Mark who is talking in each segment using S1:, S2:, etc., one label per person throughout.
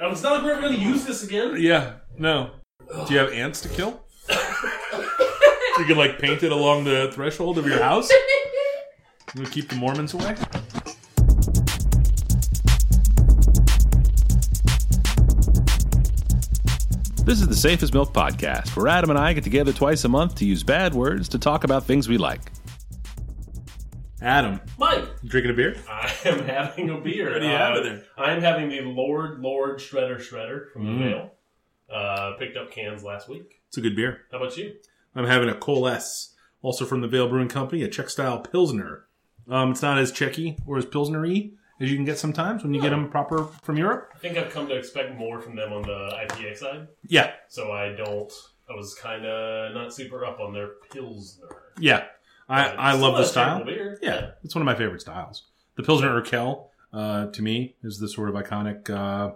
S1: Oh, It's not like we're ever going to use this again.
S2: Yeah, no. Do you have ants to kill? you could like paint it along the threshold of your house. It would keep the Mormons away.
S3: This is the Safest Milk Podcast, where Adam and I get together twice a month to use bad words to talk about things we like.
S2: Adam,
S1: Mike,
S2: you drinking a beer?
S1: I am having a beer. Uh,
S2: What do you have in there? Mm.
S1: I am having the Lord Lord Shredder Shredder from the mail. Uh, picked up cans last week.
S2: It's a good beer.
S1: How about you?
S2: I'm having a Cole S, also from the Vale Brewing Company, a Czech style Pilsner. Um, it's not as Czechy or as Pilsnery as you can get sometimes when you get 'em get them proper from Europe.
S1: I think I've come to expect more from them on the IPA side,
S2: Yeah,
S1: so I don't. I was kind of not super up on their pilsner.
S2: yeah. I,
S1: But
S2: I
S1: it's
S2: love
S1: not
S2: the
S1: a terrible
S2: style.
S1: Beer.
S2: Yeah, it's one of my favorite styles. The Pilsner Urkel, uh, to me, is the sort of iconic uh,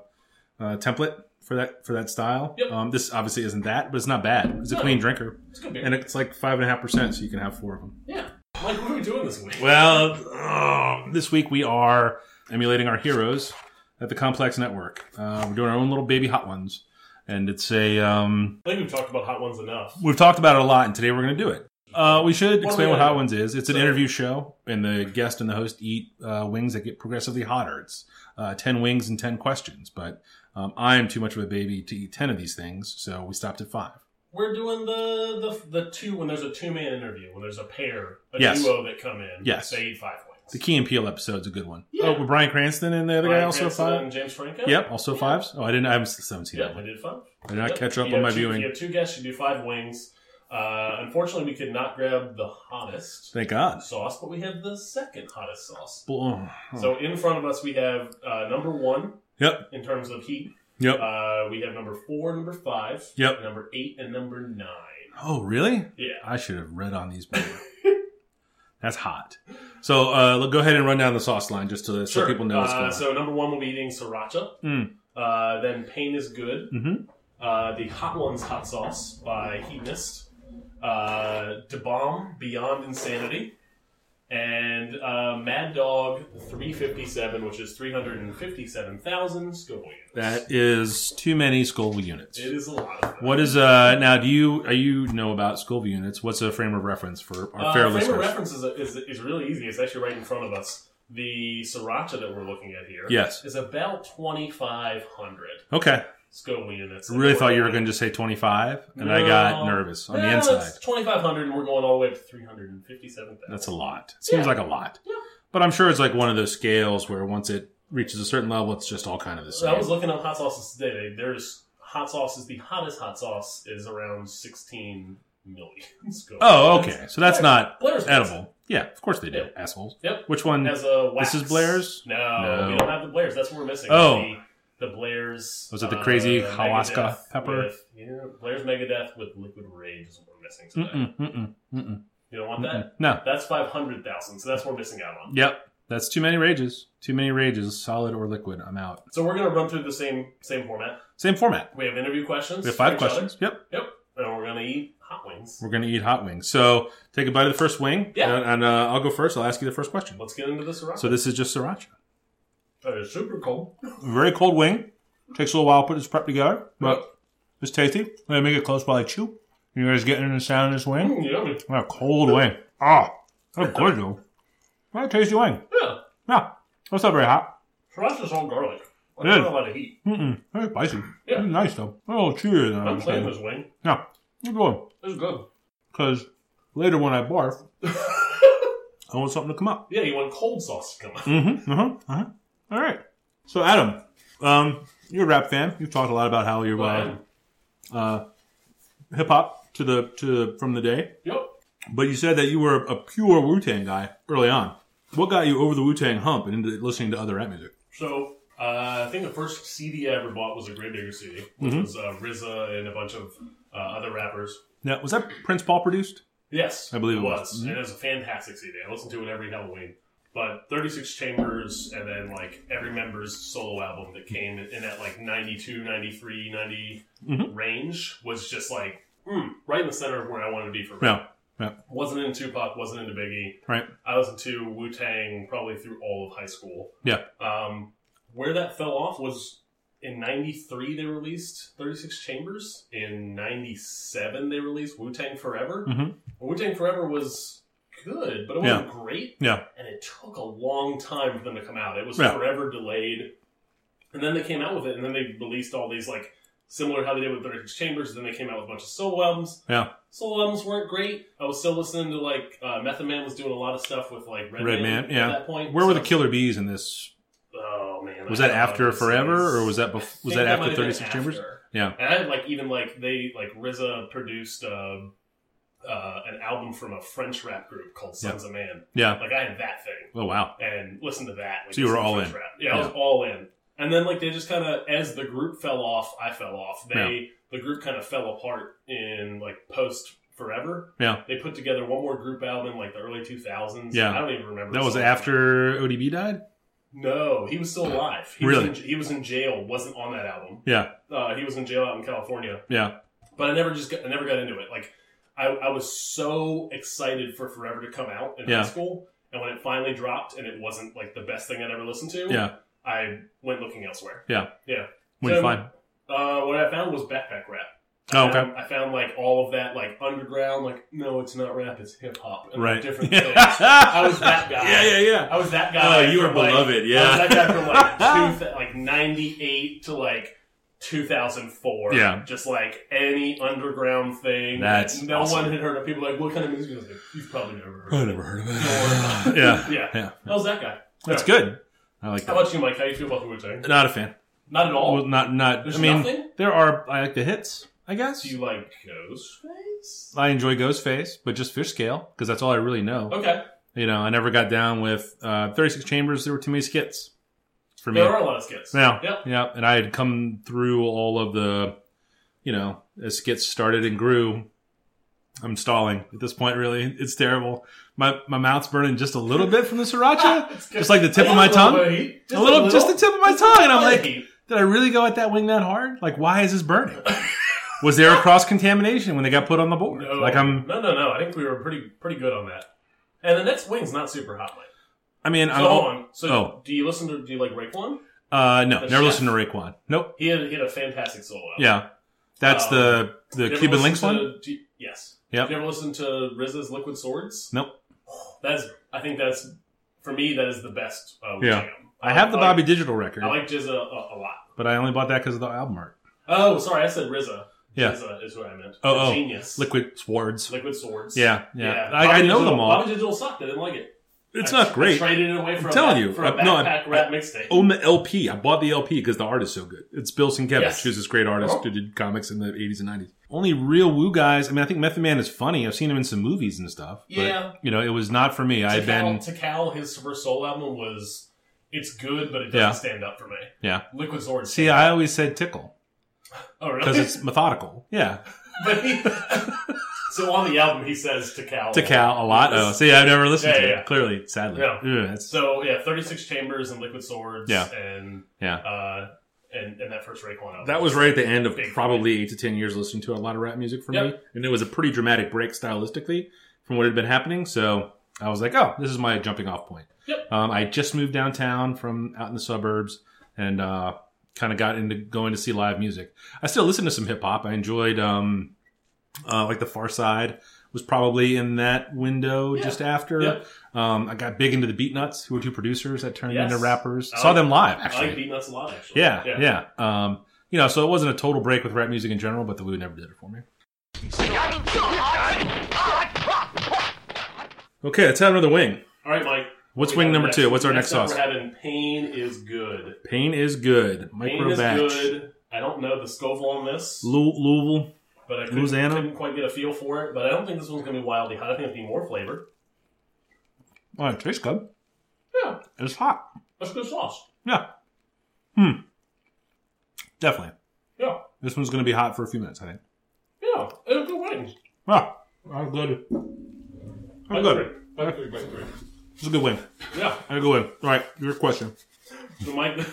S2: uh, template for that for that style.
S1: Yep.
S2: Um, this obviously isn't that, but it's not bad. It's a
S1: No.
S2: clean drinker,
S1: it's a good beer.
S2: and it's like five and a half percent, so you can have four of them.
S1: yeah, Mike, what are we doing this week?
S2: Well, oh, this week we are emulating our heroes at the Complex Network. Uh, we're doing our own little baby hot ones, and it's a um,
S1: I think we've talked about hot ones enough.
S2: we've talked about it a lot, and today we're going to do it. Uh, we should
S1: What
S2: explain
S1: are we
S2: what
S1: gonna
S2: Hot
S1: do?
S2: Ones is. It's an
S1: So-
S2: interview show, and the guest and the host eat uh, wings that get progressively hotter. It's uh, ten wings and ten questions, but um, I am too much of a baby to eat ten of these things, so we stopped at five.
S1: We're doing the the, the two when there's a two man interview when there's a pair a
S2: Yes.
S1: duo that come in.
S2: Yes.
S1: they eat five wings.
S2: The Key and Peele episode's a good one.
S1: Yeah.
S2: Oh, with Brian Cranston and the other
S1: Bryan
S2: guy also
S1: Cranston
S2: five.
S1: and James Franco.
S2: Yep, also
S1: Yeah.
S2: fives. Oh, I didn't. I haven't I haven't seen that
S1: Yeah,
S2: one.
S1: we did five.
S2: I did not
S1: Yep.
S2: catch up
S1: You
S2: on
S1: have
S2: my
S1: two-
S2: viewing.
S1: You have two guests. You do five wings. Uh, unfortunately, we could not grab the hottest
S2: Thank God.
S1: sauce, but we have the second hottest sauce.
S2: Oh.
S1: So in front of us, we have uh, number one
S2: yep,
S1: in terms of heat.
S2: yep.
S1: Uh, we have number four, number five,
S2: Yep.
S1: number eight, and number nine.
S2: oh, really?
S1: Yeah.
S2: I should have read on these. before. That's hot. So uh, look- go ahead and run down the sauce line just to so people know what's going
S1: Uh,
S2: on.
S1: so number one, we'll be eating sriracha.
S2: Mm.
S1: Uh, then pain is good.
S2: Mhm.
S1: Uh, the hot ones hot sauce by Hedonist. Uh, De Bomb Beyond Insanity. And uh, Mad Dog 357, which is 357,000 scovillions.
S2: that is too many Scoville units.
S1: It is a lot of them.
S2: What is uh now? Do you are you know about Scoville units? What's a frame of reference for our
S1: Uh,
S2: fair
S1: frame
S2: listeners?
S1: of reference is, is, is really easy. It's actually right in front of us. The sriracha that we're looking at here is
S2: Yes.
S1: about 2,500
S2: Okay.
S1: Scoville units.
S2: Really thought you were going to just say twenty five, and I got
S1: No.
S2: nervous on the inside.
S1: Twenty five Eh, hundred, and we're going all the way up to three hundred and fifty seven thousand.
S2: That's a lot. It seems
S1: Yeah.
S2: like a lot.
S1: Yeah.
S2: But I'm sure it's like one of those scales where once it reaches a certain level, it's just all kind of the
S1: So
S2: same.
S1: I was looking up hot sauces today. They- There's hot sauces. The hottest hot sauce is around sixteen million. Scoville
S2: oh,
S1: units.
S2: okay. So that's not
S1: Blair's
S2: edible. Yeah, of course they do,
S1: Yeah.
S2: assholes.
S1: Yep.
S2: Which one?
S1: Has a wax.
S2: This is Blair's?
S1: No,
S2: No.
S1: we don't have the Blair's. That's what we're missing.
S2: Oh.
S1: The, the Blair's. uh,
S2: Was it the crazy
S1: Megadeth
S2: Hawaska pepper?
S1: with- yeah, Blair's Megadeth with Liquid Rage is what we're missing today.
S2: Mm-mm, mm-mm, mm-mm,
S1: You don't want that?
S2: mm-mm. No.
S1: That's 500,000, so that's what we're missing out on.
S2: Yep. That's too many rages. Too many rages, solid or liquid. I'm out.
S1: So we're going to run through the same same format.
S2: Same format.
S1: We have interview questions.
S2: We have five
S1: for each
S2: questions. Yep.
S1: other. Yep. And we're gonna eat hot wings.
S2: We're going to eat hot wings. So take a bite of the first wing.
S1: Yeah.
S2: And, and, uh, I'll go first. I'll ask you the first question.
S1: Let's get into this rock.
S2: So this is just sriracha.
S1: it's super cold.
S2: Very cold wing. Takes a little while to put this prep together, but it's tasty. I'm going to make it close while I chew. You guys getting the sound of this wing?
S1: Mm, yummy.
S2: What a cold wing. Ah, that's good though. What a tasty wing.
S1: Yeah.
S2: Yeah, that's not very hot.
S1: Sriracha's all garlic. I
S2: It
S1: don't
S2: is.
S1: know how to eat.
S2: Mm-mm, very spicy.
S1: Yeah.
S2: It's nice though. A little chewier than I
S1: I'm
S2: was
S1: playing
S2: saying.
S1: this wing.
S2: Yeah, it's good.
S1: This is good.
S2: Because later when I barf, I want something to come up.
S1: Yeah, you want cold sauce to come out.
S2: Mm-hmm, mm-hmm, mm-hmm. All right. So Adam, um, you're a rap fan. You've talked a lot about how you're uh,
S1: But-
S2: uh, hip hop to the to the, from the day.
S1: Yep.
S2: But you said that you were a pure Wu Tang guy early on. What got you over the Wu Tang hump and into listening to other rap music?
S1: So uh, I think the first CD I ever bought was a Grid Digger CD, which
S2: Mhm.
S1: was uh, RZA and a bunch of uh, other rappers.
S2: Now, was that Prince Paul produced?
S1: Yes,
S2: I believe it was.
S1: was.
S2: Mhm.
S1: And it was a fantastic CD. I listen to it every Halloween. But 36 chambers, and then like every member's solo album that came in that like 92, 93, 90
S2: Mhm.
S1: range was just like mm, right in the center of where I wanted to be for.
S2: No. No.
S1: wasn't into Tupac, wasn't into Biggie.
S2: Right.
S1: I listened to Wu Tang probably through all of high school.
S2: Yeah.
S1: Um, where that fell off was in 93 they released 36 chambers in 97 they released wu-tang forever
S2: Mhm.
S1: wu-tang forever was good but it wasn't great
S2: Yeah.
S1: and it took a long time for them to come out it was
S2: Yeah.
S1: forever delayed and then they came out with it and then they released all these like similar to how they did with 36 chambers then they came out with a bunch of solo albums
S2: Yeah.
S1: solo albums weren't great i was still listening to like uh, method man was doing a lot of stuff with like red,
S2: Red Man,
S1: man,
S2: yeah.
S1: at that point
S2: Where were
S1: so-
S2: the killer bees in this?
S1: oh man
S2: Was
S1: I
S2: that
S1: don't know.
S2: after
S1: It's-
S2: Forever,
S1: it's-
S2: or was that bef- was
S1: think
S2: that
S1: might
S2: after
S1: have been
S2: Thirty Six Chambers?
S1: after.
S2: Yeah.
S1: And I had like even like they like RZA produced uh, uh, an album from a French rap group called Sons of Man.
S2: Yeah.
S1: Like I had that thing
S2: Oh wow.
S1: and listened to that. Like,
S2: So you were
S1: some
S2: all
S1: French
S2: in.
S1: Rap. Yeah, I was all in. And then like they just kind of as the group fell off, I fell off. They the group kind of fell apart in like post forever.
S2: Yeah.
S1: They put together one more group album in like the early 2000s.
S2: Yeah.
S1: I don't even remember.
S2: That
S1: the
S2: was
S1: song.
S2: after ODB died.
S1: No, he was still alive. He
S2: Really?
S1: Was in, he was in jail. Wasn't on that album.
S2: Yeah.
S1: Uh, he was in jail out in California.
S2: Yeah.
S1: But I never just got, I never got into it. Like I, I was so excited for Forever to come out in
S2: Yeah.
S1: high school, and when it finally dropped, and it wasn't like the best thing I'd ever listened to.
S2: Yeah.
S1: I went looking elsewhere.
S2: When you
S1: So-
S2: find.
S1: Uh, what I found was backpack rap.
S2: Oh
S1: I
S2: okay.
S1: found- I found like all of that like underground. Like no, it's not rap. It's hip hop. and
S2: Right.
S1: Different
S2: Yeah.
S1: things. I was that guy.
S2: Yeah. Yeah. Yeah.
S1: I was that guy.
S2: Oh, you were
S1: from, like,
S2: beloved, yeah.
S1: I was that guy from like two, thou- like ninety eight to like two thousand four.
S2: Yeah.
S1: just like any underground thing.
S2: That's
S1: that no
S2: awesome.
S1: one had heard of. People were like, what kind of music? I was like, You've probably never heard.
S2: I
S1: of
S2: never heard of
S1: it."
S2: it. yeah.
S1: yeah.
S2: Yeah.
S1: That was that guy.
S2: That's
S1: Yeah.
S2: good. I like
S1: How
S2: that.
S1: about you, Mike? How you feel about the Wu Tang?
S2: Not a fan.
S1: Not at all.
S2: Well, not not.
S1: There's
S2: I mean,
S1: nothing?
S2: there are. I like the hits. I guess.
S1: Do you like Ghostface?
S2: I enjoy Ghostface, but just fish scale because that's all I really know.
S1: Okay,
S2: You know, I never got down with uh, 36 Chambers. There were too many skits for me.
S1: there are a lot of skits.
S2: Yeah.
S1: Yep.
S2: Yeah, and I had come through all of the, you know, as skits started and grew. I'm stalling at this point. Really, it's terrible. My my mouth's burning just a little bit from the sriracha,
S1: It's good.
S2: just like the tip
S1: Yeah,
S2: of my
S1: a little
S2: tongue.
S1: bit of heat.
S2: a little, just the tip of my tongue, and I'm
S1: Yeah,
S2: like,
S1: heat.
S2: did I really go at that wing that hard? Like, why is this burning? Was there a cross contamination when they got put on the board?
S1: No,
S2: Like, I'm.
S1: no, no, no. I think we were pretty pretty good on that. And the next wing's not super hot. Mike.
S2: I mean,
S1: So
S2: I'm.
S1: hold
S2: All,
S1: on. So
S2: oh.
S1: do you listen to? Do you like Raekwon?
S2: uh, no,
S1: The
S2: never
S1: chef.
S2: listened to Raekwon. Nope.
S1: He had, he had a fantastic solo. album.
S2: Yeah, that's
S1: Um,
S2: the
S1: You
S2: the
S1: ever listen
S2: Cuban links
S1: to-
S2: one.
S1: do you- yes.
S2: Yep.
S1: You ever listen to RZA's Liquid Swords?
S2: Nope.
S1: That's. I think that's for me. That is the best. Uh, Wu-Tang
S2: Yeah.
S1: album.
S2: I have the
S1: uh, like-
S2: Bobby Digital record,
S1: I like RZA a, a lot.
S2: but I only bought that because of the album art.
S1: Oh, sorry, I said RZA.
S2: Yeah.
S1: RZA is what I meant.
S2: Oh,
S1: The
S2: oh.
S1: Genius.
S2: Liquid Swords.
S1: Liquid Swords.
S2: Yeah, yeah. I, I
S1: Bobby
S2: know
S1: Digital-
S2: them all.
S1: Bobby Digital sucked. I didn't like it.
S2: it's
S1: I-
S2: not
S1: I
S2: great. I
S1: traded it away for
S2: I'm
S1: a
S2: telling
S1: back-
S2: you,
S1: for a
S2: I- no, I- oh
S1: backpack rap mixtape.
S2: own the LP. I bought the LP because the art is so good. It's Bill Sienkiewicz,
S1: Yes.
S2: who's this great artist
S1: Oh.
S2: who did comics in the 80s and 90s. Only real woo guys. I mean, I think Method Man is funny. I've seen him in some movies and stuff. But,
S1: Yeah.
S2: You know, it was not for me. I had been.
S1: To Cal, his first soul album was it's good, but it doesn't
S2: Yeah.
S1: stand up for me.
S2: Yeah.
S1: Liquid Sword.
S2: See, I always said tickle
S1: oh really?
S2: because it's methodical. Yeah.
S1: But he- so on the album he says to Cal.
S2: To Cal a lot. Oh, see, I've never listened
S1: Yeah,
S2: to
S1: yeah,
S2: it.
S1: yeah.
S2: Clearly, sadly.
S1: Yeah.
S2: Ew, that's-
S1: So yeah, thirty six chambers and Liquid Swords.
S2: Yeah.
S1: And
S2: yeah.
S1: uh and, and that first Raekwon album.
S2: That was right at the end of
S1: Big
S2: probably eight to ten years listening to a lot of rap music for me,
S1: Yep.
S2: and it was a pretty dramatic break stylistically from what had been happening. So I was like, "Oh, this is my jumping off point."
S1: Yep.
S2: Um, I just moved downtown from out in the suburbs, and uh, kind of got into going to see live music. I still listen to some hip hop. I enjoyed um, uh, like the Far Side was probably in that window
S1: Yeah.
S2: just after.
S1: Yep.
S2: Um, I got big into the Beatnuts, who were two producers that turned
S1: Yes.
S2: into rappers.
S1: I
S2: Saw
S1: like-
S2: them live
S1: I
S2: actually.
S1: like Beatnuts a lot actually.
S2: Yeah, yeah. Um, you know, so it wasn't a total break with rap music in general, but the Woo never did it for me. Okay, let's have another wing.
S1: All right, Mike.
S2: What's
S1: We
S2: wing
S1: have
S2: number two? What's our next
S1: up
S2: sauce?
S1: We're having Pain is Good.
S2: Pain is
S1: Pain
S2: good. Micro
S1: is
S2: batch.
S1: good. I don't know the Scoville on this.
S2: Lou- Louisville.
S1: but I couldn't,
S2: Louisiana?
S1: couldn't quite get a feel for it. But I don't think this one's gonna be wildly hot. I think it'll be more flavor.
S2: Oh, it tastes good.
S1: Yeah,
S2: It's hot.
S1: that's good sauce.
S2: Yeah. Hmm. Definitely.
S1: Yeah,
S2: This one's going to be hot for a few minutes, I think.
S1: yeah, it's good wings.
S2: Ah, I'm good. I'm good.
S1: Bite three, bite three.
S2: It's a good wing.
S1: Yeah.
S2: I good win. All right, your question.
S1: So Mike,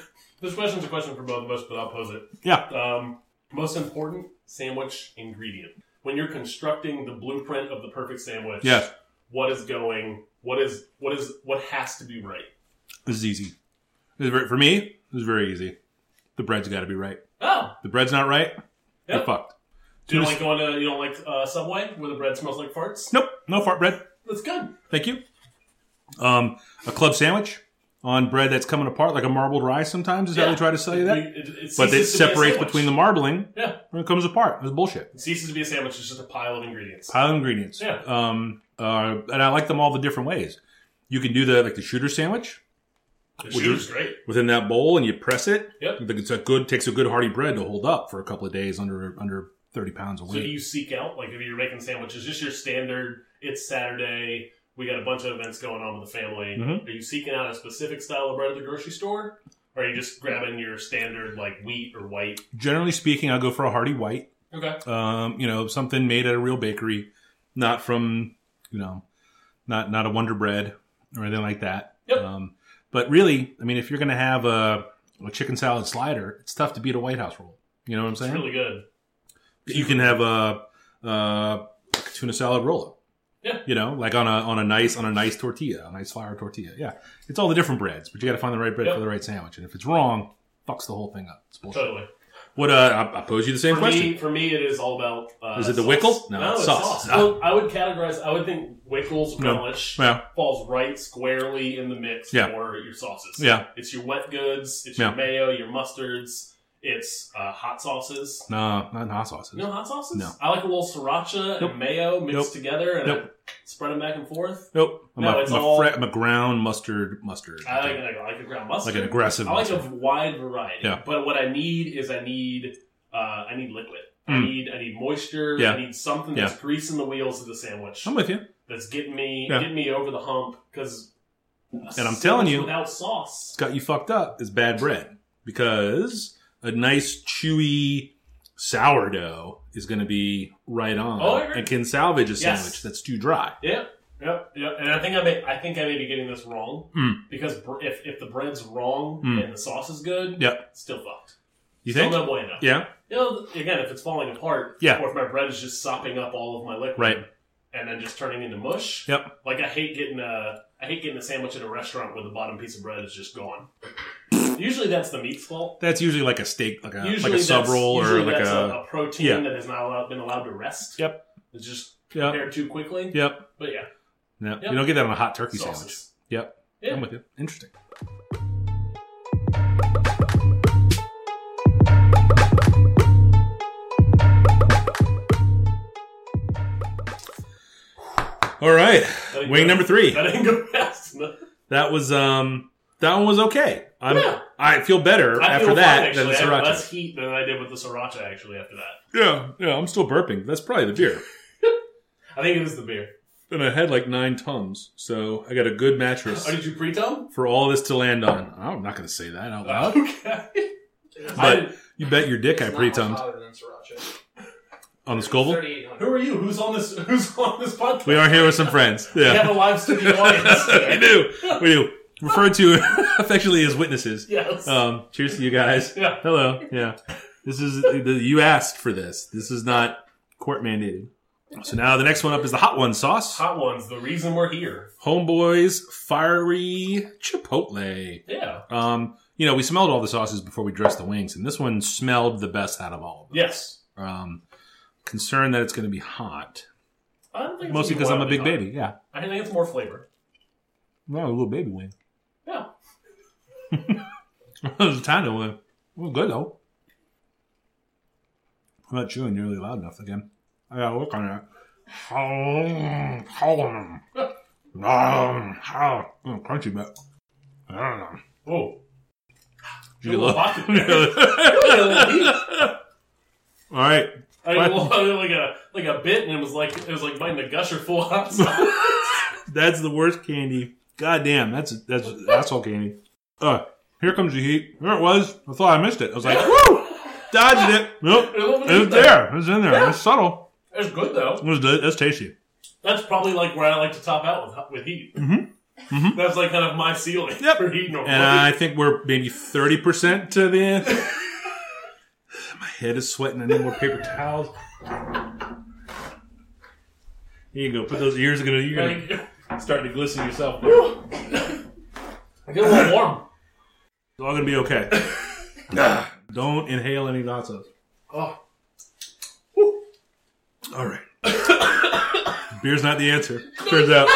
S1: this question's a question for both of us, but I'll pose it.
S2: Yeah.
S1: Um, most important sandwich ingredient when you're constructing the blueprint of the perfect sandwich.
S2: Yes.
S1: What is going? What is what is what has to be right?
S2: This is easy. This is very, for me, this is very easy. The bread's got to be right.
S1: Oh,
S2: The bread's not right. You're
S1: Yep.
S2: fucked.
S1: do you
S2: Tuna
S1: don't like going to you don't like uh, Subway where the bread smells like farts?
S2: Nope, no fart bread.
S1: That's good.
S2: Thank you. Um, a club sandwich on bread that's coming apart like a marbled rye. Sometimes is how they
S1: Yeah.
S2: try to sell you that,
S1: It- it- it
S2: but
S1: ceases
S2: it
S1: to be a
S2: separates
S1: sandwich.
S2: between the marbling
S1: yeah,
S2: and it comes apart. It's bullshit.
S1: it ceases to be a sandwich. It's just a pile of ingredients.
S2: pile of ingredients.
S1: Yeah.
S2: Um, uh, and I like them all the different ways. You can do the like the shooter sandwich
S1: The
S2: Would you-
S1: shooter's great.
S2: within that bowl, and you press it.
S1: Yep.
S2: Like, It's a good takes a good hearty bread to hold up for a couple of days under under thirty pounds of
S1: So do
S2: weight.
S1: you seek out like if you're making sandwiches, just your standard. It's Saturday. We got a bunch of events going on with the family.
S2: Mhm.
S1: Are you seeking out a specific style of bread at the grocery store, or are you just grabbing your standard like wheat or white?
S2: Generally speaking, I'll go for a hearty white.
S1: Okay.
S2: Um, you know, something made at a real bakery, not from you know, not not a Wonder Bread or anything like that.
S1: Yep.
S2: Um, but really, I mean, if you're going to have a, a chicken salad slider, it's tough to beat a White House roll. You know what I'm
S1: It's
S2: saying?
S1: really good.
S2: you can have a, a tuna salad roll up.
S1: Yeah.
S2: You know, like on a on a nice on a nice tortilla, a nice flour tortilla. Yeah. It's all the different breads, but you got to find the right bread
S1: Yep.
S2: for the right sandwich. And if it's wrong, fucks the whole thing up. It's bullshit.
S1: Totally.
S2: What uh, I, I pose you the same
S1: for
S2: question.
S1: me, for me, it is all about. Uh,
S2: Is it the
S1: sauce.
S2: wickle? No,
S1: No,
S2: it's
S1: it's
S2: sauce.
S1: sauce.
S2: Ah.
S1: Well, I would categorize. I would think wickles
S2: No.
S1: relish
S2: Yeah.
S1: falls right squarely in the mix
S2: Yeah.
S1: for your sauces.
S2: Yeah.
S1: it's your wet goods. It's
S2: Yeah.
S1: your mayo, your mustards. It's uh, hot sauces.
S2: No, not in hot sauces.
S1: No hot sauces.
S2: No.
S1: I like a little sriracha
S2: Nope.
S1: and mayo mixed
S2: Nope.
S1: together and
S2: Nope.
S1: I spread them back and forth.
S2: Nope. I'm,
S1: No,
S2: a,
S1: it's
S2: I'm, a
S1: all-
S2: fra- I'm a ground mustard mustard.
S1: I like, I like a ground mustard.
S2: Like an aggressive
S1: I like
S2: mustard.
S1: a wide variety.
S2: Yeah.
S1: But what I need is I need uh, I need liquid. I
S2: Mm.
S1: need I need moisture.
S2: Yeah.
S1: I need something that's greasing the wheels of the sandwich.
S2: I'm with you.
S1: That's getting me
S2: Yeah.
S1: getting me over the hump because
S2: And I'm telling you-
S1: without sauce.
S2: It's got you fucked up is bad bread because a nice chewy sourdough is going to be right on
S1: Oh, I agree.
S2: and can salvage a
S1: Yes.
S2: sandwich that's too dry.
S1: Yep. Yep, yep, and I think I may, I think I may be getting this wrong
S2: Mm.
S1: because br- if, if the bread's wrong
S2: Mm.
S1: and the sauce is good,
S2: Yep.
S1: still fucked.
S2: You
S1: Still
S2: think?
S1: no bueno.
S2: Yeah.
S1: You know, again, if it's falling apart,
S2: Yeah.
S1: or if my bread is just sopping up all of my liquid,
S2: Right.
S1: and then just turning into mush.
S2: Yep.
S1: Like I hate getting a, I hate getting a sandwich at a restaurant where the bottom piece of bread is just gone. usually that's the meat's fault.
S2: That's usually like a steak, like a
S1: usually
S2: like a sub
S1: that's-
S2: roll or
S1: usually
S2: like
S1: that's
S2: a,
S1: a, protein
S2: yeah.
S1: that has not allowed, been allowed to rest.
S2: Yep.
S1: It's just
S2: yeah,
S1: prepared too quickly.
S2: yep,
S1: But yeah,
S2: yep.
S1: Yep.
S2: You don't get that on a hot turkey sandwich.
S1: sauces.
S2: Yep,
S1: Yeah.
S2: I'm with you. Interesting. All right,
S1: That ain't
S2: wing
S1: good.
S2: number
S1: uh,
S2: three.
S1: That didn't go fast enough.
S2: That was um that one was okay. I'm
S1: Yeah.
S2: I feel better
S1: I
S2: after
S1: feel fine,
S2: that than the
S1: actually. I had
S2: sriracha.
S1: less heat than I did with the sriracha actually after that.
S2: Yeah, yeah, I'm still burping. That's probably the beer.
S1: I think it is the beer.
S2: And I had like nine tums, so I got a good mattress
S1: Oh, did you pre-tome?
S2: for all this to land on. I'm not gonna say that out loud.
S1: Okay. I
S2: But-
S1: didn't-
S2: You bet your dick I
S4: It's not
S2: pre
S4: much
S2: tummed
S4: hotter than sriracha.
S2: on the Scoville.
S4: 3800.
S1: Who are you? Who's on this? Who's on this podcast?
S2: We are here with some friends.
S1: We
S2: Yeah.
S1: have a live studio audience.
S2: we do. We do. Referred to affectionately as witnesses.
S1: Yes.
S2: Um, cheers to you guys.
S1: yeah.
S2: Hello. Yeah. This is the, you asked for this. This is not court mandated. So now the next one up is the hot one sauce.
S1: Hot ones. The reason we're here.
S2: Homeboys fiery chipotle.
S1: Yeah.
S2: Um, you know, we smelled all the sauces before we dressed the wings, and this one smelled the best out of all.
S1: Yes.
S2: Of them. Um, concerned that it's going to be hot,
S1: I don't think it's
S2: mostly
S1: gonna be
S2: because I'm a
S1: wildly
S2: big
S1: hot.
S2: baby. Yeah,
S1: I think it's more flavor.
S2: no, a little baby wing.
S1: Yeah.
S2: it was a tiny one. Well, good though. I'm not chewing nearly loud enough again. I gotta work on that. Hum, hum. Nom, hum. Mm, Crunchy bit. Mm.
S1: Whoa.
S2: Did
S1: A
S2: you
S1: little
S2: love-
S1: hot in there. A little heat.
S2: All right.
S1: I mean, well, I mean, like a like a bit, and it was like it was like biting a gusher full of hot sauce.
S2: That's the worst candy. God damn, that's that's asshole candy. Uh, here comes the heat. There it was. I thought I missed it. I was like, woo, dodged it. Nope,
S1: A little bit of
S2: it was
S1: heat there.
S2: there. It was in there. It was subtle.
S1: It's good though.
S2: It was good. That's tasty.
S1: That's probably like where I like to top out with with heat.
S2: Mhm. Mhm.
S1: That's like kind of my ceiling
S2: Yep.
S1: for heat. normally.
S2: And uh, I think we're maybe thirty percent to the end. My head is sweating. I need more paper towels. Here you go. Put those ears. Are gonna you're gonna
S1: Like,
S2: start to glisten yourself.
S1: I get a little warm.
S2: It's all gonna be okay. Don't inhale any nachos.
S1: Oh,
S2: All right. Beer's not the answer. Turns out.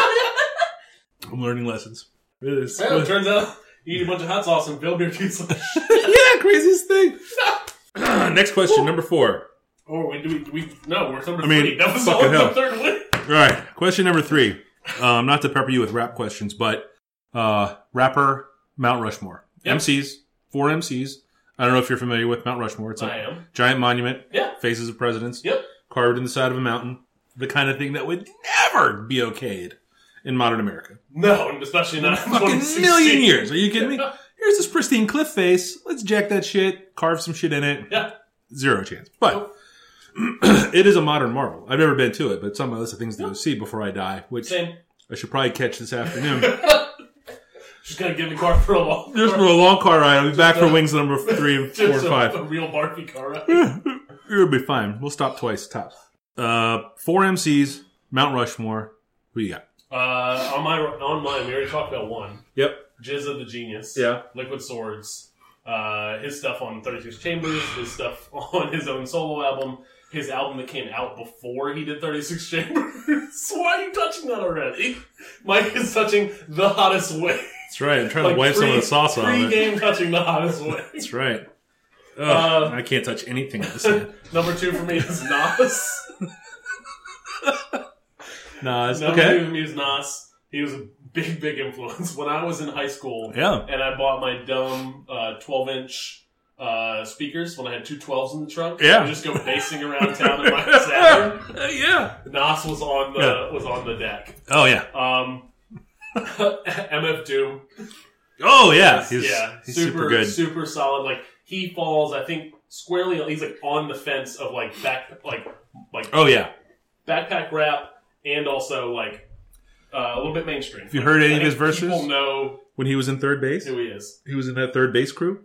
S2: I'm learning lessons. It is-
S1: well, it turns out you eat a bunch of hot sauce and build your pizza.
S2: yeah, craziest thing. Next question, number four.
S1: or we do we, do we no, we're number
S2: I mean,
S1: three. That was
S2: fucking
S1: all
S2: hell.
S1: the third one.
S2: All right, question number three. Um, not to pepper you with rap questions, but uh, rapper Mount Rushmore.
S1: Yep.
S2: MCs, four MCs. I don't know if you're familiar with Mount Rushmore. It's a
S1: I am.
S2: giant monument.
S1: Yeah.
S2: Faces of presidents.
S1: Yep.
S2: Carved in the side of a mountain. The kind of thing that would never be okayed in modern America.
S1: No, especially not in
S2: fucking
S1: 2016.
S2: million years. Are you kidding me? Here's this pristine cliff face. Let's jack that shit, carve some shit in it.
S1: Yeah.
S2: Zero chance. But it is a modern marvel. I've never been to it, but it's on my list of things to go see before I die, which
S1: Same.
S2: I should probably catch this afternoon.
S1: She's gonna give me car for a long.
S2: Just for a long car ride. I'll be back for wings number three, and four, and
S1: Just a,
S2: five.
S1: a real Barbie car. Ride.
S2: It'll be fine. We'll stop twice, tops. Uh, four MCs, Mount Rushmore. Who you got?
S1: Uh, on my on mine, we already talked about one.
S2: Yep.
S1: Jizz of the Genius.
S2: Yeah.
S1: Liquid Swords. Uh, his stuff on 36 Chambers, his stuff on his own solo album, his album that came out before he did 36 Chambers. Why are you touching that already? Mike is touching the hottest way.
S2: That's right. I'm trying to wipe some of the sauce off
S1: Pre
S2: it.
S1: game touching the hottest way.
S2: That's right. Ugh,
S1: Uh,
S2: I can't touch anything with this hand.
S1: Number two for me is Nas.
S2: Nah, it's
S1: Number two
S2: okay.
S1: for me is Nas. He was a big, big influence. When I was in high school,
S2: Yeah.
S1: and I bought my dumb uh, 12 inch uh, speakers when I had two 12s in the trunk.
S2: Yeah.
S1: I just go basing around town in my Saturn.
S2: yeah.
S1: Nas was on the
S2: Yeah.
S1: was on the deck.
S2: Oh yeah.
S1: Um, MF Doom.
S2: Oh yeah. He's,
S1: yeah,
S2: he's
S1: super,
S2: super, good.
S1: super solid. Like he falls, I think squarely. He's like on the fence of like back, like like
S2: Oh yeah.
S1: backpack rap, and also like uh, a little bit mainstream.
S2: Have you heard any
S1: I
S2: of his
S1: think
S2: verses?
S1: People know
S2: When he was in third base,
S1: who he is.
S2: he was in that third base crew.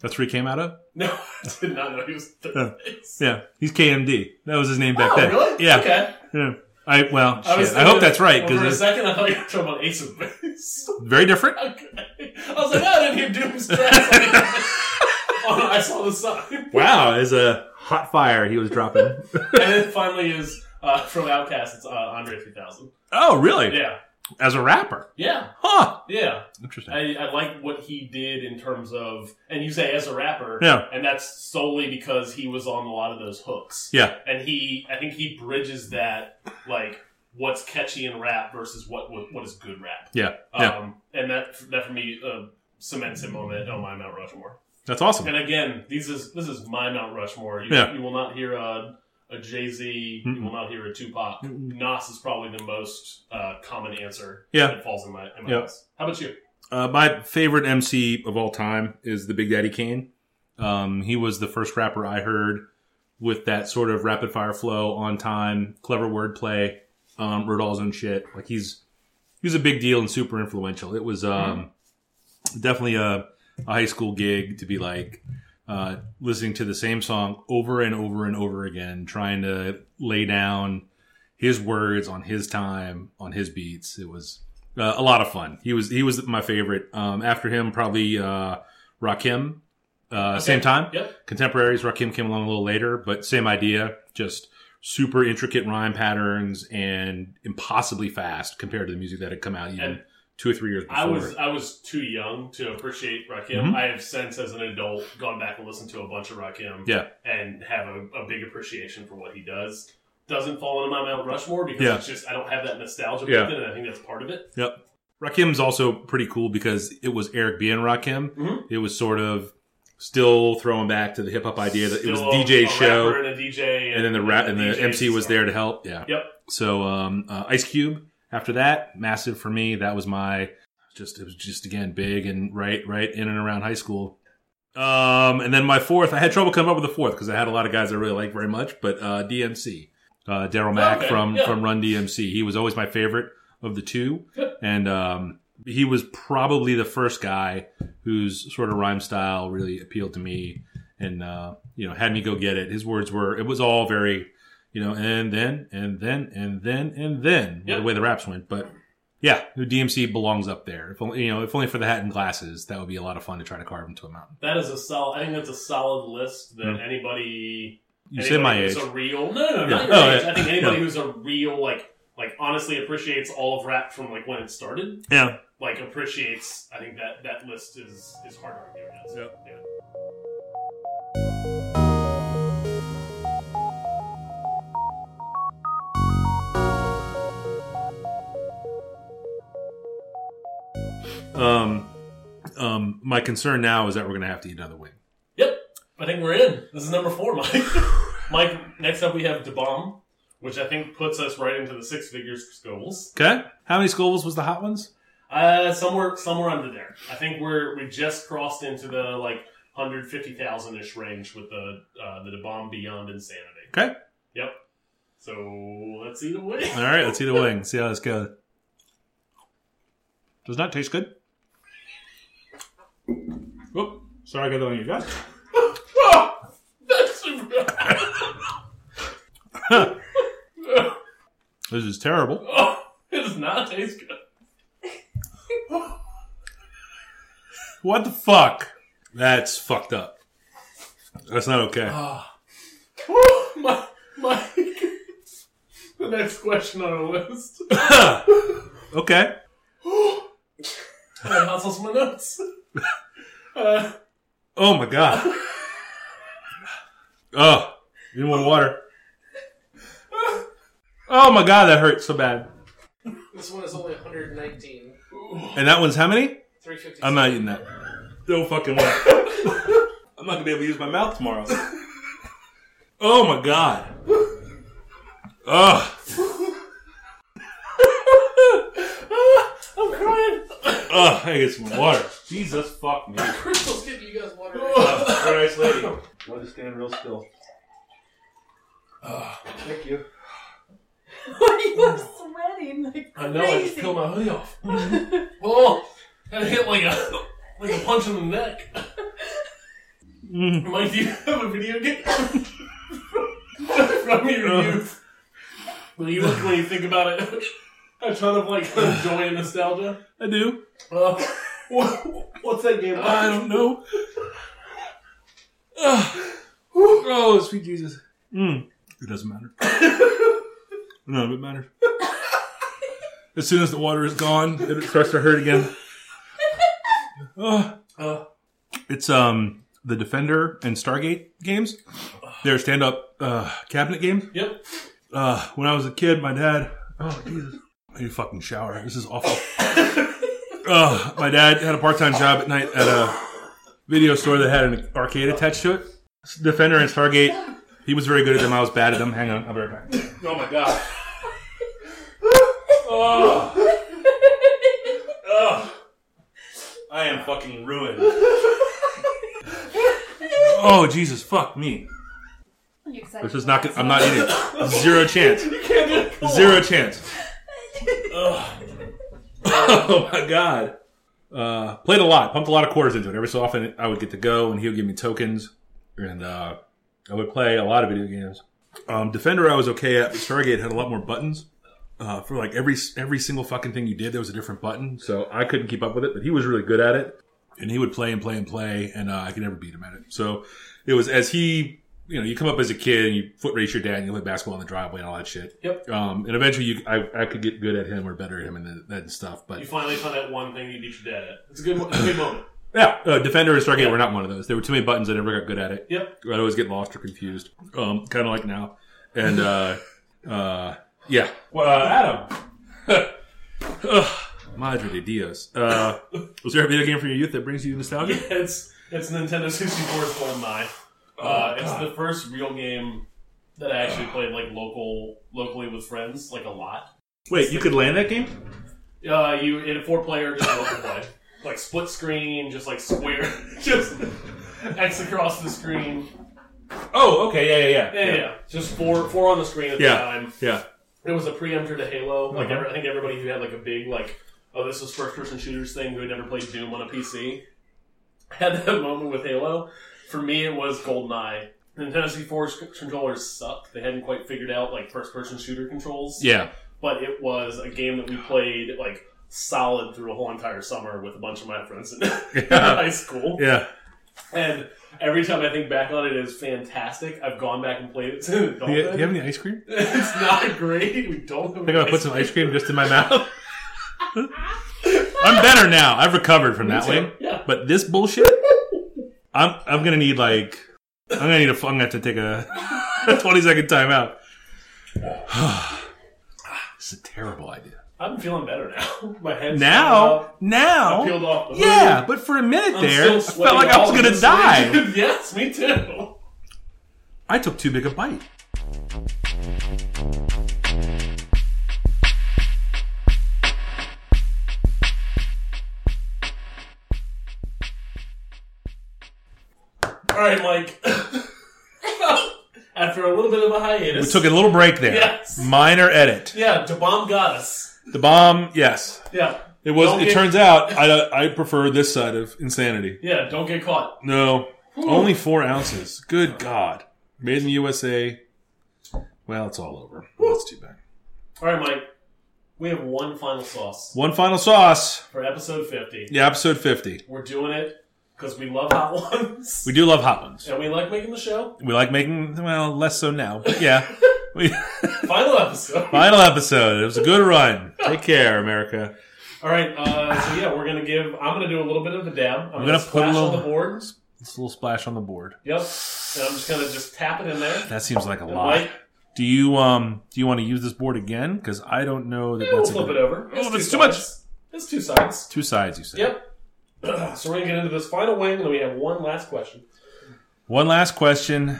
S2: That's where he came out of.
S1: No, I did not know he was third
S2: Yeah.
S1: base.
S2: Yeah, he's KMD. That was his name back
S1: Oh,
S2: then.
S1: really?
S2: Yeah.
S1: Okay.
S2: Yeah. I well, shit. I,
S1: was
S2: hope
S1: thinking-
S2: that's right
S1: well, for a
S2: because it's
S1: second, I thought you were talking about Ace of Base.
S2: very different.
S1: okay. I was like, I didn't hear Doom's tracks. oh, I saw the sign.
S2: Wow, is a hot fire he was dropping.
S1: And then finally is uh, from Outcast. It's uh, Andre 3000.
S2: oh, really?
S1: Yeah.
S2: As a rapper?
S1: Yeah.
S2: Huh.
S1: Yeah.
S2: Interesting.
S1: I, I like what he did in terms of, and you say as a rapper.
S2: yeah.
S1: And that's solely because he was on a lot of those hooks.
S2: Yeah.
S1: and he I think he bridges that like what's catchy in rap versus what what, what is good rap.
S2: Yeah,
S1: Um,
S2: yeah.
S1: And that that for me uh, cements him on that. Oh my Mount Rushmore.
S2: That's awesome.
S1: And again, these is this is my Mount Rushmore. You,
S2: Yeah.
S1: you will not hear a, a Jay Z. You will not hear a Tupac.
S2: Mm-mm.
S1: Nas is probably the most uh, common answer.
S2: Yeah.
S1: that falls in my in my
S2: Yeah.
S1: house. How about you?
S2: Uh, my favorite MC of all time is the Big Daddy Kane. Um, he was the first rapper I heard with that sort of rapid fire flow, on time, clever wordplay, um, wrote all his own shit. Like he's he was a big deal and super influential. It was um, definitely a, a high school gig to be like uh, listening to the same song over and over and over again, trying to lay down his words on his time on his beats. It was uh, a lot of fun. He was he was my favorite. Um, after him, probably uh, Rakim. Uh, Same time,
S1: Yep.
S2: contemporaries. Rakim came along a little later, but same idea. Just super intricate rhyme patterns and impossibly fast compared to the music that had come out even
S1: And
S2: two or three years before.
S1: I was I was too young to appreciate Rakim.
S2: Mhm.
S1: I have since, as an adult, gone back and listened to a bunch of Rakim.
S2: Yeah.
S1: and have a, a big appreciation for what he does. Doesn't fall into my Mount Rushmore because
S2: Yeah.
S1: it's just I don't have that nostalgia
S2: Yeah.
S1: with it, and I think that's part of it.
S2: Yep. Rakim's also pretty cool because it was Eric B and Rakim.
S1: Mhm.
S2: It was sort of still throwing back to the hip hop idea that it was
S1: Still a-
S2: DJ's
S1: a
S2: show.
S1: rapper and a DJ,
S2: and then the rap and the
S1: DJ
S2: MC was there to help. Yeah.
S1: Yep.
S2: So um, uh, Ice Cube after that, massive for me. That was my just it was just again big and right right in and around high school. Um, and then my fourth, I had trouble coming up with a fourth because I had a lot of guys I really liked very much, but uh, DMC, uh, Daryl Mack
S1: Okay,
S2: from
S1: yeah.
S2: from Run DMC, he was always my favorite of the two,
S1: Yep.
S2: and um, he was probably the first guy whose sort of rhyme style really appealed to me and uh, you know had me go get it. His words were it was all very you know and then and then and then and then
S1: Yeah.
S2: the way the raps went, but Yeah, the DMC belongs up there. If only you know, if only for the hat and glasses, that would be a lot of fun to try to carve into a mountain.
S1: That is a solid. I think that's a solid list that
S2: Mm.
S1: anybody.
S2: You
S1: anybody
S2: said my
S1: who's
S2: age.
S1: a real no, no, no,
S2: Yeah.
S1: not your
S2: Oh,
S1: age.
S2: yeah.
S1: I think anybody
S2: Yeah.
S1: who's a real like like honestly appreciates all of rap from like when it started.
S2: Yeah.
S1: Like appreciates. I think that that list is is hard to argue against.
S2: Yep.
S1: Yeah.
S2: Um, um, my concern now is that we're gonna have to eat another wing.
S1: Yep. I think we're in. This is number four, Mike. Mike. Next up, we have DeBomb, which I think puts us right into the six figures for Scobles.
S2: Okay. How many Scovilles was the hot ones?
S1: Uh, somewhere, somewhere under there. I think we're we just crossed into the like hundred fifty thousand ish range with the uh, the bomb beyond insanity.
S2: Okay.
S1: Yep. So let's see the way.
S2: All right, let's eat a wing. See how this goes. Does not taste good. Whoop. Sorry, I got that on your desk.
S1: Oh, That's super.
S2: This is terrible.
S1: oh, it does not taste good.
S2: What the fuck? That's fucked up. That's not okay.
S1: Ah. Whew, my my. the next question on our list.
S2: okay.
S1: I hustle my notes. Uh,
S2: Oh my god. Oh, you want water? Oh my god, that hurts so bad.
S4: This one is only 119.
S2: And that one's how many?
S4: 350.
S2: I'm not eating that. No fucking way. I'm not gonna be able to use my mouth tomorrow. Oh my god. Ugh.
S1: Ah, I'm crying.
S2: Ugh. I get some water. Jesus fuck me.
S4: Crystal's giving you guys water.
S1: Oh.
S2: Christ, lady. Want to stand real still? Thank you.
S5: you were sweating like crazy.
S1: I know. I just peeled my hoodie off. oh, that hit like a like a punch in the neck.
S2: Mm.
S1: Mike, do you have a video game from
S2: Uh.
S1: your youth? When you look, when you think about it, a ton of like joy and nostalgia.
S2: I do.
S1: Uh, what, what's that game?
S2: I don't know. Ugh. Whew. Oh, sweet Jesus. Mm. It doesn't matter. None of it matters. As soon as the water is gone, it starts to hurt again. Ugh.
S1: Uh,
S2: It's um the Defender and Stargate games. They're stand up uh, cabinet games.
S1: yep.
S2: Uh, when I was a kid, my dad. Oh Jesus! I need a fucking shower. This is awful. uh, my dad had a part-time job at night at a video store that had an arcade attached to it. Defender and Stargate. He was very good at them. I was bad at them. Hang on, I'll be right back.
S1: Oh my god. Oh.
S2: I am fucking ruined. oh Jesus! Fuck me.
S5: You excited
S2: This is
S5: about
S2: not. Good. I'm not eating. Zero chance. Zero chance. oh my god. Uh, played a lot, pumped a lot of quarters into it. Every so often, I would get to go, and he would give me tokens, and uh, I would play a lot of video games. Um, Defender, I was okay at, but Stargate had a lot more buttons. Uh, for like every every single fucking thing you did, there was a different button, so I couldn't keep up with it. But he was really good at it, and he would play and play and play, and uh, I could never beat him at it. So it was as he, you know, you come up as a kid and you foot race your dad, and you play basketball in the driveway and all that shit.
S1: Yep.
S2: Um, and eventually, you, I, I could get good at him or better at him and that, that stuff. But
S1: You finally found that one thing you beat your dad at. It's a good, it's a good moment.
S2: yeah, uh, Defender and Stargate were not one of those. There were too many buttons. I never got good at it.
S1: Yep.
S2: I'd always get lost or confused, um, kind of like now. And uh, uh, yeah. Well, uh, Adam. Ugh, Madre de Dios. Uh, was there a video game from your youth that brings you nostalgia?
S1: it's it's Nintendo 64's Gold Mine. Uh, it's the first real game that I actually played like local locally with friends, like a lot.
S2: Wait, you could land that game?
S1: Uh, you in a four player just local play, like split screen, just like square, just X across the screen.
S2: Oh, okay. Yeah, yeah,
S1: Yeah, yeah, yeah. just four four on the screen at the
S2: Yeah.
S1: time.
S2: Yeah.
S1: It was a preemptor to Halo. Like
S2: Uh-huh.
S1: every, I think everybody who had like a big like, oh, this was first person shooters thing who had never played Doom on a PC had that moment with Halo. For me, it was GoldenEye. Nintendo 64's c- controllers sucked. They hadn't quite figured out like first person shooter controls.
S2: Yeah.
S1: But it was a game that we played like solid through a whole entire summer with a bunch of my friends in high school.
S2: Yeah.
S1: And every time I think back on it, it's fantastic. I've gone back and played it. since
S2: Do you, do you
S1: adulthood.
S2: have any ice cream? I
S1: it's not great. We don't. Have
S2: think I'm gonna put some ice cream just in my mouth. I'm better now. I've recovered from that
S1: Yeah.
S2: one.
S1: yeah.
S2: But this bullshit, I'm I'm gonna need like I'm gonna need a I'm gonna have to take a, a 20 second timeout. this is a terrible idea.
S1: I'm feeling better now. My head's
S2: Now,
S1: up.
S2: now,
S1: I peeled off the hood.
S2: yeah, but for a minute
S1: I'm
S2: there, I
S1: still
S2: felt like I was
S1: sweating
S2: gonna
S1: all
S2: die.
S1: the sleep. yes, me too.
S2: I took too big a bite.
S1: All right, Mike. After a little bit of a hiatus,
S2: We took a little break there.
S1: Yes.
S2: Minor edit.
S1: Yeah, the bomb got us.
S2: The bomb. Yes.
S1: Yeah,
S2: It was.
S1: Don't
S2: it
S1: get-
S2: turns out I I prefer this side of insanity.
S1: yeah. Don't get caught.
S2: No, only four ounces. Good God. Made in the USA. Well, it's all over. That's too bad.
S1: All right, Mike. We have one final sauce
S2: One final sauce.
S1: for episode fifty.
S2: Yeah, episode fifty.
S1: We're doing it because we love hot ones.
S2: We do love hot ones.
S1: and we like making the show.
S2: We like making well less so now, but yeah. We,
S1: Final episode.
S2: final episode. It was a good run. Take care, America.
S1: All right. Uh, so yeah, we're gonna give. I'm gonna do a little bit of a dab. I'm,
S2: I'm
S1: gonna,
S2: gonna put
S1: splash
S2: a
S1: on
S2: little-
S1: the board.
S2: It's a little splash on the board.
S1: Yep. And I'm just gonna just tap it in there.
S2: That seems like a
S1: And
S2: lot.
S1: Mike,
S2: Do you um do you want to use this board again? Because I don't know that
S1: yeah, we'll
S2: that's a
S1: flip
S2: good-
S1: it over.
S2: Oh,
S1: two
S2: that's too much.
S1: sides. It's two sides.
S2: two sides. You said.
S1: Yep. so we're gonna get into this final wing, and then we have one last question.
S2: One last question.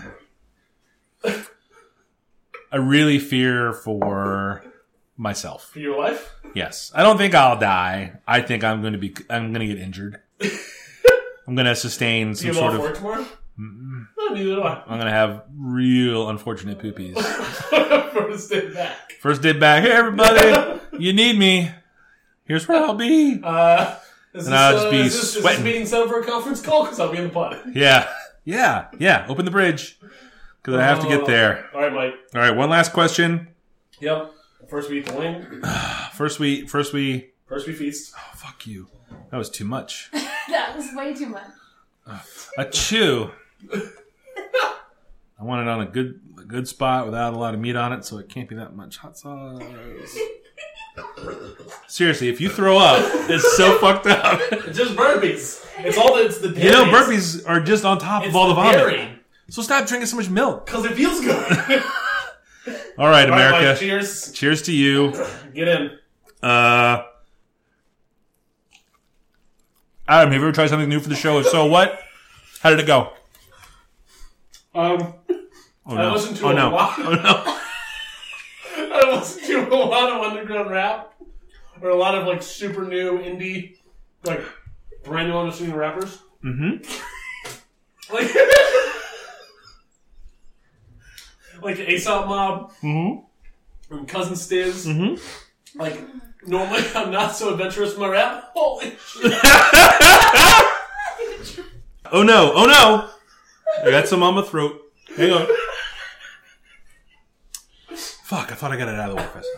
S2: I really fear for myself.
S1: For your life,
S2: Yes, I don't think I'll die. I think I'm going to be. I'm going to get injured. I'm going to sustain
S1: do you
S2: some
S1: have off
S2: sort of.
S1: work tomorrow? No, neither do I.
S2: I'm going to have real unfortunate poopies.
S1: First day back.
S2: First day back. Hey everybody, you need me. Here's where I'll be.
S1: Uh, is
S2: And
S1: this,
S2: I'll just
S1: uh,
S2: be
S1: is this, is this
S2: sweating.
S1: meeting set up for a conference call? Because I'll be in the pod.
S2: Yeah, yeah, yeah. Open the bridge because I have to get there.
S1: All right, Mike.
S2: All right. One last question.
S1: Yep. First we eat the wing.
S2: First we. First we.
S1: First we feast.
S2: Oh, fuck you. That was too much.
S5: That was way too much.
S2: A chew. I want it on a good a good spot without a lot of meat on it, so it can't be that much hot sauce. Seriously, if you throw up, it's so fucked up.
S1: It's just burpees. It's all that's the dairy.
S2: You know, burpees are just on top
S1: It's
S2: of all the
S1: the
S2: vomit.
S1: dairy.
S2: So stop drinking so much milk.
S1: Because it feels good.
S2: All
S1: All right,
S2: right, America.
S1: Mike, cheers.
S2: cheers to you.
S1: Get in.
S2: Uh, Adam, have you ever tried something new for the show? If so, what? How did it go?
S1: Um,
S2: Oh
S1: I
S2: no!
S1: listened to
S2: oh
S1: a
S2: no!
S1: lot.
S2: Oh no!
S1: I listen to a lot of underground rap, or a lot of like super new indie, like brand new unseen rappers.
S2: Mm-hmm.
S1: Like, like the Aesop Mob
S2: Mm-hmm.
S1: and Cousin Stiz.
S2: Mm-hmm.
S1: Like, normally I'm not so adventurous in my rap. Holy shit.
S2: Oh no! Oh no! I got some on my throat. Hang on. Fuck! I thought I got it out of the way. fast.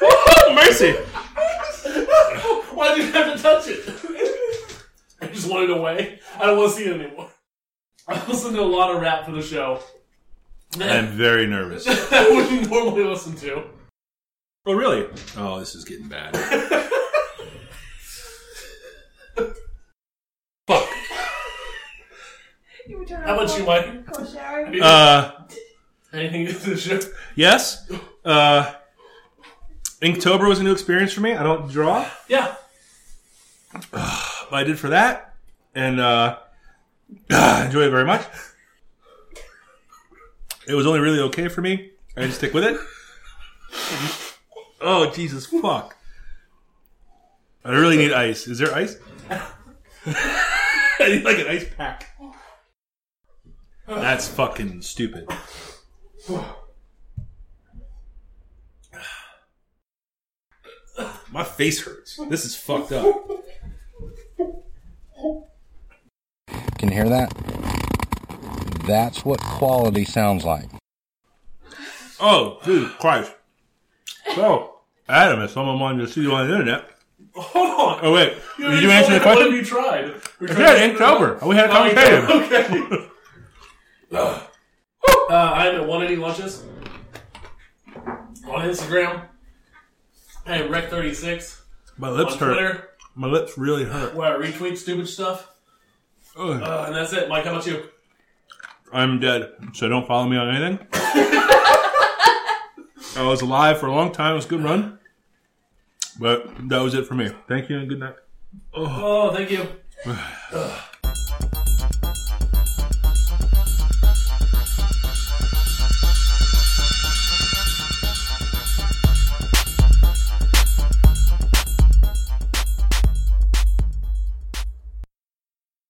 S2: Oh, mercy!
S1: Why did you have to touch it? I just wanted away. I don't want to see it anymore. I listen to a lot of rap for the show.
S2: I'm very nervous.
S1: I wouldn't normally listen to.
S2: Oh really? Oh, this is getting bad. Fuck.
S5: You would turn
S1: How
S5: off
S1: about you,
S5: all
S1: Mike?
S5: the cool shower.
S2: Uh,
S1: Anything to the show?
S2: yes. Uh, Inktober was a new experience for me. I don't draw.
S1: Yeah.
S2: but I did for that, and uh, enjoy it very much. It was only really okay for me. I had to stick with it. Oh Jesus fuck! I really need ice. Is there ice? I need like an ice pack. That's fucking stupid. My face hurts. This is fucked up.
S6: Can you hear that? That's what quality sounds like.
S2: Oh, dude, Christ. So, Adam, if someone wanted to see you on the internet.
S1: Hold on.
S2: Oh, wait. Did you
S1: told
S2: answer
S1: me what
S2: the question?
S1: have you tried? We tried
S2: Yeah, it's over. We had a
S1: Oh, you did?
S2: conversation.
S1: Okay. uh, I am at 180 Lunches on Instagram. I am Rec36
S2: My
S1: on
S2: lips hurt.
S1: Twitter,
S2: My lips really hurt.
S1: where I retweet stupid stuff.
S2: Ugh.
S1: Uh, and that's it. Mike, how about you?
S2: I'm dead, so don't follow me on anything. I was alive for a long time. It was a good run. But that was it for me. Thank you and good night.
S1: Oh, thank you. Ugh.